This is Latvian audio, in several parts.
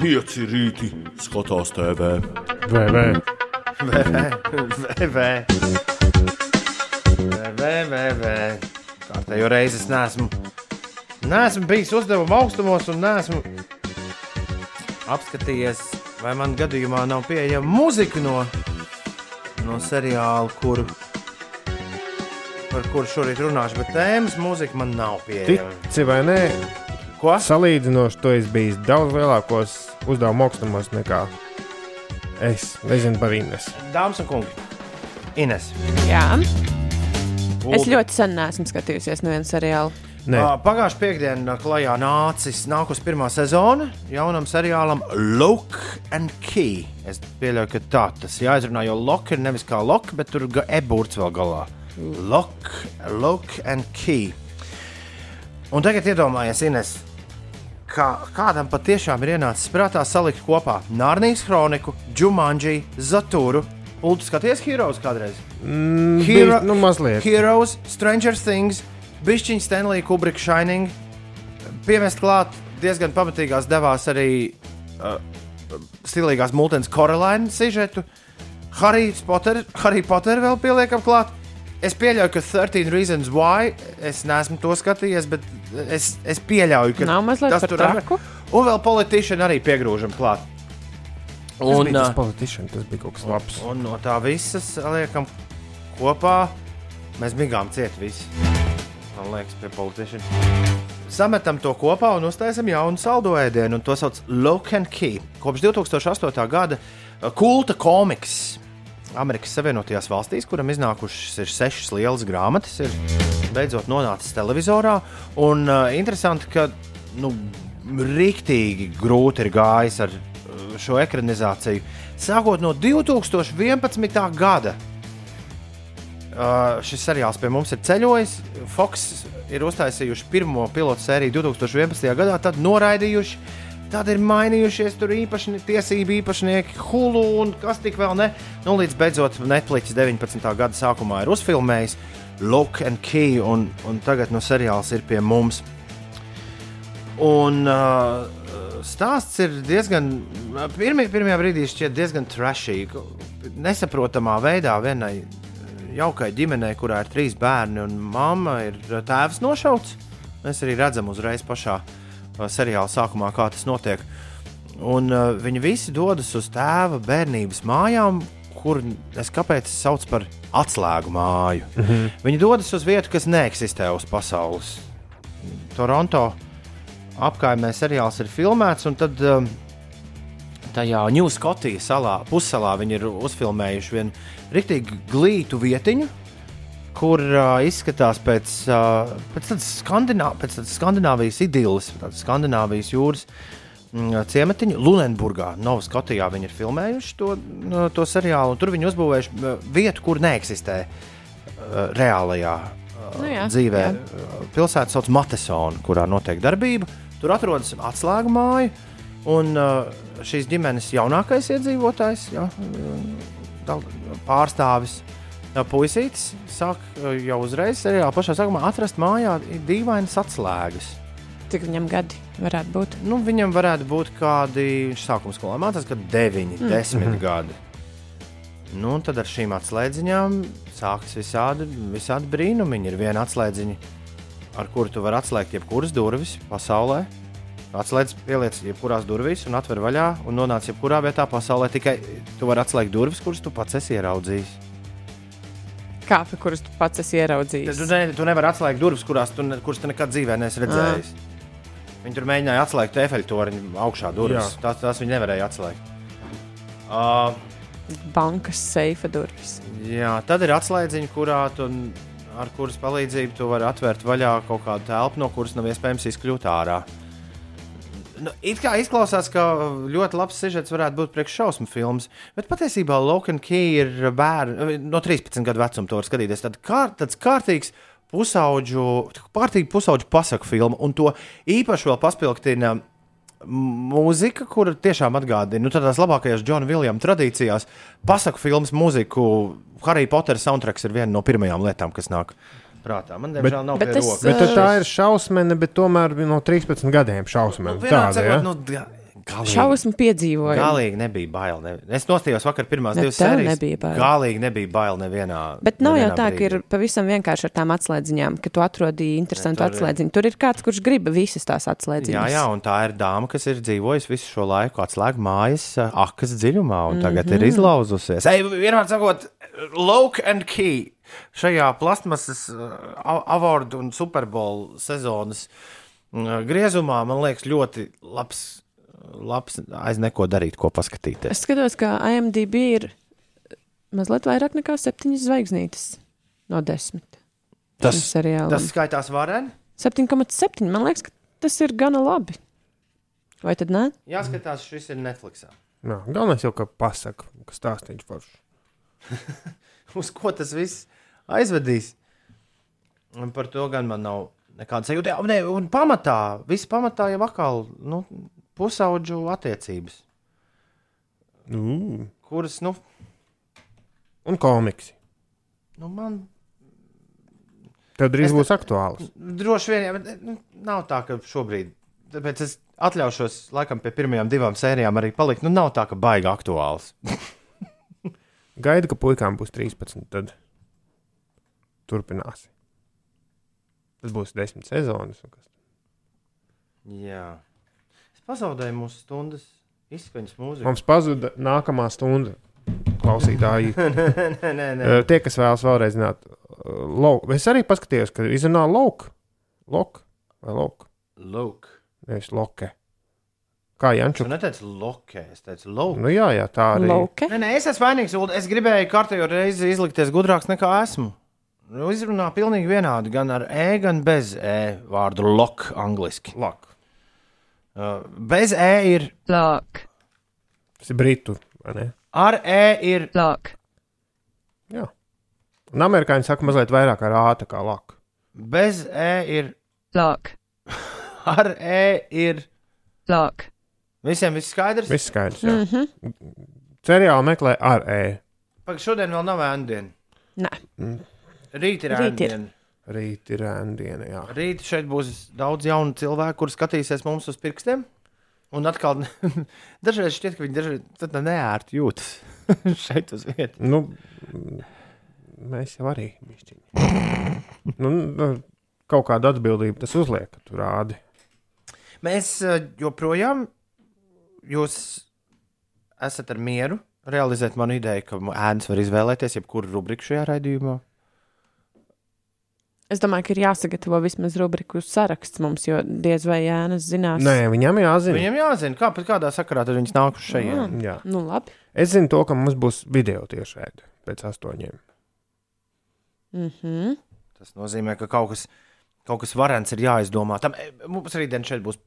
Pieci rīti skatās TV. Vai, vai. Vē, vē, vē, vē. Kārtējo reizi es neesmu. Neesmu bijis uzdevuma augstumos un neesmu apskatījies, vai man gadījumā nav pieejama muzika no, no seriāla, kuru, par kuru šorīt runāšu, bet tēmas muzika man nav pieejama. Tici vai nē, Ko? salīdzinoši tu esi bijis daudz lielākos uzdevuma augstumos nekā es. Nezinu par Innes. Dāmas un kungi, Ines. Jā. Es Ulda. ļoti sen neesmu skatījusies nevienu seriālu. Nē, Ā, Ah, Pagājušā piekdienā klajā nācis nākus pirmā sezona jaunam seriālam Lock and Key. Es pieļauju, ka tā tas jāizrunā, jo Lock ir nevis kā Lock, bet tur ir e-būrts vēl galā. Lock, Lock and Key. Un tagad iedomājies, Ines, kā kādam patiešām ir ienācis prātā salikt kopā Nārnijas kroniku, Džumanģiju, Zatūru. Ulu skaties, Heroes kādreiz! bija- nu, mazliet. Heroes, Stranger Things, Bišķiņa Stanley, Kubrick, Shining. Piemest klāt diezgan pamatīgās devās arī uh, stilīgās mūtens Korelainas sižetu. Harry Potter, Harry Potter vēl pieliekam klāt. Es pieļauju, ka 13 Reasons Why es neesmu to skatījies, bet es, es pieļauju, ka Nav mazliet par tur ir. traku? Un vēl politicieni arī piegrūžam klāt. tas Un, ah. bija ā, tas politicians, tas bija kaut kas labs. Un no tā visas liekam kopā. Mēs bijām cieti visi. Man liekas, pie politiķiem. Sametam to kopā un uztaisam jaunu saldo ēdienu, un to sauc par Lock and Key. Kopš 2008. gada uh, kulta komiks Amerikas Savienotajās valstīs, kuram iznākušas ir sešas lielas grāmatas, ir beidzot nonācis televizorā. Un uh, interesanti, ka nu, rīktīgi grūti ir gājis ar uh, šo ekranizāciju. Sākot no 2011. gada Uh, šis seriāls pie mums ir ceļojis. Fox ir uztaisījuši pirmo pilotu sēriju 2011. gadā, tad noraidījuši. Tad ir mainījušies tur īpašni, tiesību īpašnieki, hulu un kas tik vēl ne. Nu, līdz beidzot Netflix 19. gada sākumā ir uzfilmējis Look and Key, un, un tagad no seriāls ir pie mums. Un uh, stāsts ir diezgan, pirmie, pirmajā brīdī šķiet diezgan trashīgi. Nesaprotamā veidā vienai jaukai ģimenei, kurā ir trīs bērni un mamma, ir tēvs nošauts. Mēs arī redzam uzreiz pašā uh, seriāla sākumā, kā tas notiek. Un uh, viņi visi dodas uz tēva bērnības mājām, kur es kāpēc es saucu par atslēgu māju. Mm -hmm. Viņi dodas uz vietu, kas neeksistē uz pasaules. Toronto apkaimē seriāls ir filmēts, un tad um, tajā Ņūskotijas salā, pussalā viņi ir uzfilmējuši vienu rīktīgi glītu vietiņu, kur uh, izskatās pēc, uh, pēc, tādas skandinā, pēc tādas Skandināvijas idīles, tādas Skandināvijas jūras. mm, Ciematiņa Lunenburgā, Novaskotijā viņi ir filmējuši to, mm, to seriālu. un Tur viņi uzbūvējuši mm, vietu, kur neeksistē uh, reālajā Nu, jā, dzīvē. jā. Pilsēta sauc Matesona, kurā notiek darbība. Tur atrodas atslēgu māja. Un uh, šīs ģimenes jaunākais iedzīvotājs, jā, dal- pārstāvis uh, puisītis, sāk uh, jau uzreiz seriālā pašā sākumā atrast mājā dīvainas atslēgas. Cik viņam gadi varētu būt? Nu, viņam varētu būt kādi, viņš sākuma skolā mācās, kad 9, 10 gadi. Nu, un tad ar šīm atslēdziņām sākas visādi, visādi brīnumi. Ir viena atslēdziņa, ar kuru tu vari atslēgt jebkuras durvis pasaulē. Atslēdz pieliec jebkurās durvīs, un atver vaļā, un nonāc jebkurā vietā pasaulē. Tikai tu vari atslēgt durvis, kuras tu pats esi ieraudzījis. Kāpēc, kurus tu pats Tad esi Tu, ieraudzījis? ne, tu nevari atslēgt durvis, kurās tu, ne, kuras tu nekad dzīvē neesi redzējis. Viņi tur mēģināja atslēgt efeļtoriņu augšā durvis. Jā. Tās, tās viņi nevarēja atslēgt. Uh, Bankas seifa durvis. jā, tad ir atslēdziņa, kurā tu, n- ar kuras palīdzību tu vari atvērt vaļā kaut kādu telpu, no kuras nav iespējams izkļūt ārā. Nu, it kā izklausās, ka ļoti labs sižets varētu būt priekššausmu filmas, bet patiesībā Logan Key ir bērns no 13 gadu vecuma. To var skatīties. Tad kār, tāds kārtīgs pusauģu, kārtīgi pusauģu pasaku filma, un to īpaši vēl paspilgtina m- mūzika, kur tiešām atgādina, nu, tādās labākajās Džona Viljama tradīcijās, pasaku filmas mūziku. Harry Potter soundtracks ir viena no pirmajām lietām, kas nāk prātā. Man, diemžēl, nav bet pie es, eh, rokas. Bet tad tā ir šausmene, bet tomēr no 13 gadiem šausmene. Nu, Vienā Tāda, cekot, ja? nu, d- Galīgi, Šausmu piedzīvoju. galīgi nebija bail. Ne, es nostājos vakar pirmās Ne, divas tev sērijas. nebija bail. Galīgi nebija bail nevienā. Bet nav jau nevienā tā, ka brīdī. ir pavisam vienkārši ar tām atslēdziņām, ka tu atrodīji interesantu tur ir- atslēdziņu. Tur ir kāds, kurš grib visas tās Jā, atslēdziņas. jā, un tā ir dāma, kas ir dzīvojusi visu šo laiku atslēgu mājas eh, akas dziļumā, un tagad mm -hmm. ir Mhm. izlauzusies. Ei, vienmēr sakot, look and key. Šajā plasmasas eh, a- avordu un superbolu sezonas mm, griezumā, man liekas, ļoti labs, eh, labs aiz neko darīt, ko paskatīties. Es skatos, ka IMDb ir mazliet vairāk nekā septiņas zvaigznītes no desmit. tam Tas, seriālam. tas skaitās vareni. 7,7. Man liekas, ka tas ir gana labi. Vai tad nē? Jāskatās, šis ir Netflix. Nā, galvenais jau, ka pasaka, ka stāstīšu forši. Uz ko tas viss aizvedīs? Un Par to gan man nav nekāda sajūta. Jā, Ne, un pamatā, viss pamatā jau atkal nu, pusaudžu attiecības, Ū, kuras, nu, Un komiksi. nu man Tev drīz Es- būs aktuāls. droši vien jā, bet, nu, nav tā, ka šobrīd. Tāpēc es atļaušos, laikam, pie pirmajām divām sērijām arī palikt. Nu, nav tā, ka baigi aktuāls. Gaidu, ka puikām būs 13. Tad turpināsi. Tas būs 10 sezonas. un kas- Jā. Es pazaudēju mūsu stundas izskaņas mūziku. Mums pazuda nākamā stunda. Klausītāji, Nē, nē, nē. Eh, tie, kas vēlas vēlreiz zināt, eh, lauk. es arī paskatījos, ka izrunā lauk. Lok vai lok? Lūk. Nevis loke. Kā Tu Jančuk? neteici lokē, es teicu lūk. Nu jā, jā, tā arī. Lauke. Nē, nē, es esmu vainīgs. Ulda. Es gribēju kārtējo reizi izlikties gudrāks nekā esmu. Nu, izrunā pilnīgi vienādi, gan ar e, gan bez e vārdu lock angliski. Lok. Uh, bez e ir, Lark, Tas ir britu, vai ne? ar e ir, lark, Jā. Un amerikāņi saka mazliet vairāk ar ātru kā lak. bez e ir, lark, ar e ir. lark, Visiem viss skaidrs? Viss skaidrs. Mm -hmm. Seriāli meklē ar E. ē. Pag, šodien vēl nav ēndiena. Nē, Rīt ir Rīt ir. ēndiena. Rīt ir ēndiena, jā. Rīt šeit būs daudz jaunu cilvēku, kur skatīsies mums uz pirkstiem. Un atkal, dažreiz šķiet, ka viņi dažreiz tad neērti jūtas šeit uz vietas. Nu, mm, mēs jau arī bišķiņi. nu, nu, kaut kāda atbildība tas uzliek, ka tu rādi. Mēs eh, joprojām, jūs esat ar mieru realizēt manu ideju, ka ēnas var izvēlēties jebkuru rubriku šajā raidījumā. es domāju, ka ir jāsagatavo vismaz rubriku saraksts mums, jo diez vai Jānis zinās. Nē, viņam jāzina. Viņam jāzina, kā, pat kādā sakarā tad viņas nāk uz šejienes. Jā. Nu, labi. Es zinu, to, ka mums būs video tiešraide pēc astoņiem. Mhm. Tas nozīmē, ka kaut kas, kaut kas varants ir jāizdomā. Tam, eh, mums rītdien šeit būs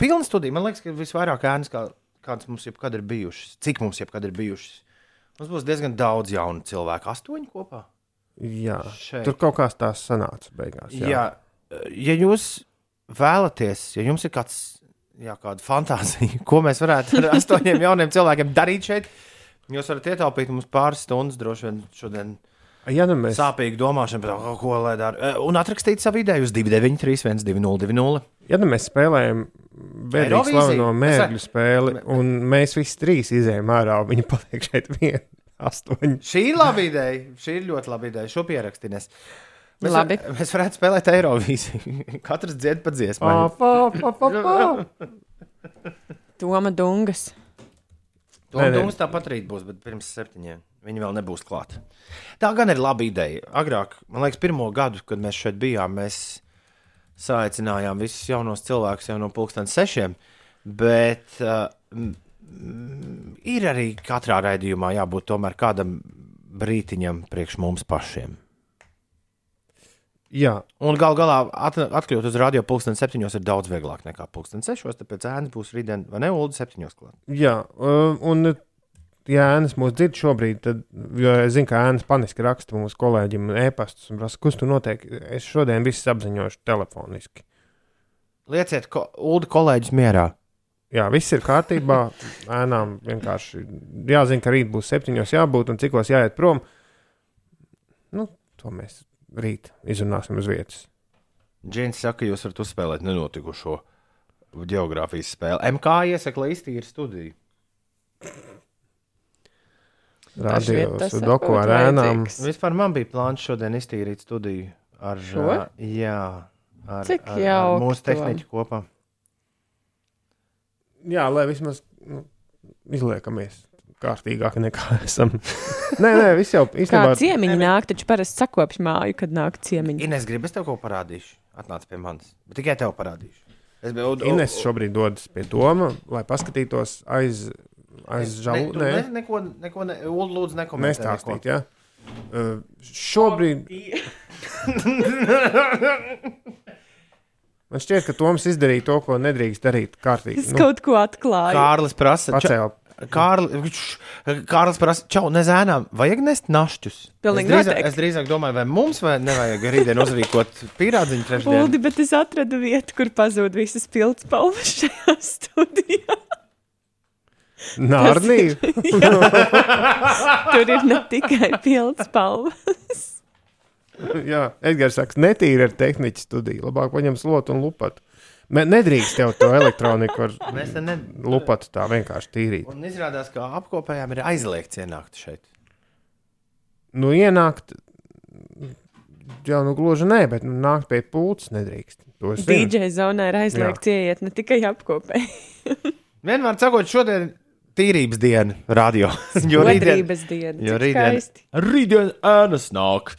pilna studija. Man liekas, ka visvairāk ēnas, kā, kādas mums jebkad ir bijušas, cik mums jebkad ir bijušas. Mums būs diezgan daudz jaunu cilvēku, astoņi kopā. Jā, Šeit. tur kaut kāds tās sanāca beigās. Jā, Jā, ja jūs vēlaties, ja jums ir kāds, jā, kāda fantāzija, ko mēs varētu ar astoņiem jauniem cilvēkiem darīt šeit, jūs varat ietaupīt mums pāris stundas, droši vien šodien ja nu mēs sāpīgi domāšana par to, ko lai dara. E, Un atrakstīt savu ideju uz 293, 1202. Ja nu mēs spēlējam bēdīgi Eirovīziju? slaveno mērķu Es- spēli, un mēs visi trīs izējām ārā, un viņi paliek šeit vieni, astoņi. Šī ir laba ideja. Šī ir ļoti laba ideja. Šo pierakstīnēs. Mēs, Labi. var, mēs varētu spēlēt Eirovīziju. Katrs dzied pa dziesmu. Pā, pā, pā, pā, pā. Toma Dungas. To Nē, nē. mums tāpat rīt būs, bet pirms septiņiem viņi vēl nebūs klāt. Tā gan ir laba ideja. Agrāk, man liekas, pirmo gadu, kad mēs šeit bijām, mēs saicinājām visus jaunos cilvēkus jau no pulksten sešiem. Bet uh, m- m- ir arī katrā raidījumā jābūt tomēr kādam brītiņam priekš mums pašiem. Jā, Un gal galā at, atkļūt uz radio pulksten septiņos ir daudz vieglāk nekā pulksten sešos, tāpēc ēnas būs rītdien vai ne, Ulu, septiņos klāt. jā, uh, un ja ēnas mūs dzird šobrīd, tad, jo es zinu, ka ēnas paniski raksta mūsu kolēģim ēpastus un prasa, kas tu notiek, es šodien visus apziņošu telefoniski. Lieciet, ko, Ulu, kolēģis mierā. Jā, viss ir kārtībā. Ēnām vienkārši jāzina, ka rīt būs septiņos jābūt un cikos jāiet prom. Nu, to mēs rīt izrunāsim uz vietas. Džins saka, jūs varat uzspēlēt nenotikušo. geogrāfijas spēle. MK iesaka, lai iztīra studiju. Radījos tas doku varbūt ar ēnām. vajadzīgs. Vispār man bija plāns šodien iztīrīt studiju ar Šo? ā, Jā, ar, Cik ar, ar jauki mūsu tev. tehniķu kopā. Jā, lai vismaz nu, izliekamies kārtīgāk nekā esam. nē, nē, viss jau Kā īstenībā. ciemiņi nāk, taču parasti sakopš māju, kad nāk ciemiņi. Ines, gribi es tev ko parādīšu? Atnāc pie manis. Bet tikai tev parādīšu. Es biju Ines šobrīd dodas pie Toma, lai paskatītos aiz, aiz žalu. Ne, Nē, ne, neko, neko, ne, Ulu, lūdzu, nekomentē. nestāstīt. Ja? Uh, šobrīd. Man šķiet, ka Toms izdarīja to, ko nedrīkst darīt kārtīgi. Es Nu, kaut ko atklāju. Kārlis prasa, ča, pacēl. Kārli, š, Kārlis prasa, čau, nezēnām, vajag nest našķus. Pilnīgi es, drīzāk, noteikti. es drīzāk domāju, vai mums vai nevajag rītdien uzrīkot pīrādziņu trešdien. Uldi, bet es atradu vietu, kur pazuda visas pildspalvas šajā studijā. Nārnī. Tur ir ne tikai pildspalvas. Jā, Edgars saka, netīri ar tehniķu studiju. Labāk paņem slotu un lupatu. Me- Nedrīkst tev to elektroniku ar Mēs te ne... lupatu tā vienkārši tīrīt. Un izrādās, ka apkopējām ir aizliegts ienākt šeit. Nu, ienākt, jau nu gluži nē, bet nu, nākt pie pults nedrīkst. To es zinu. DJ zonā ir aizliegts ieiet ne tikai apkopē. Vienmēr sakot, šodien tīrības diena radio. jo rītdien, Godrības diena. jo Cik rītdien, skaisti. rītdien ēnas nāk.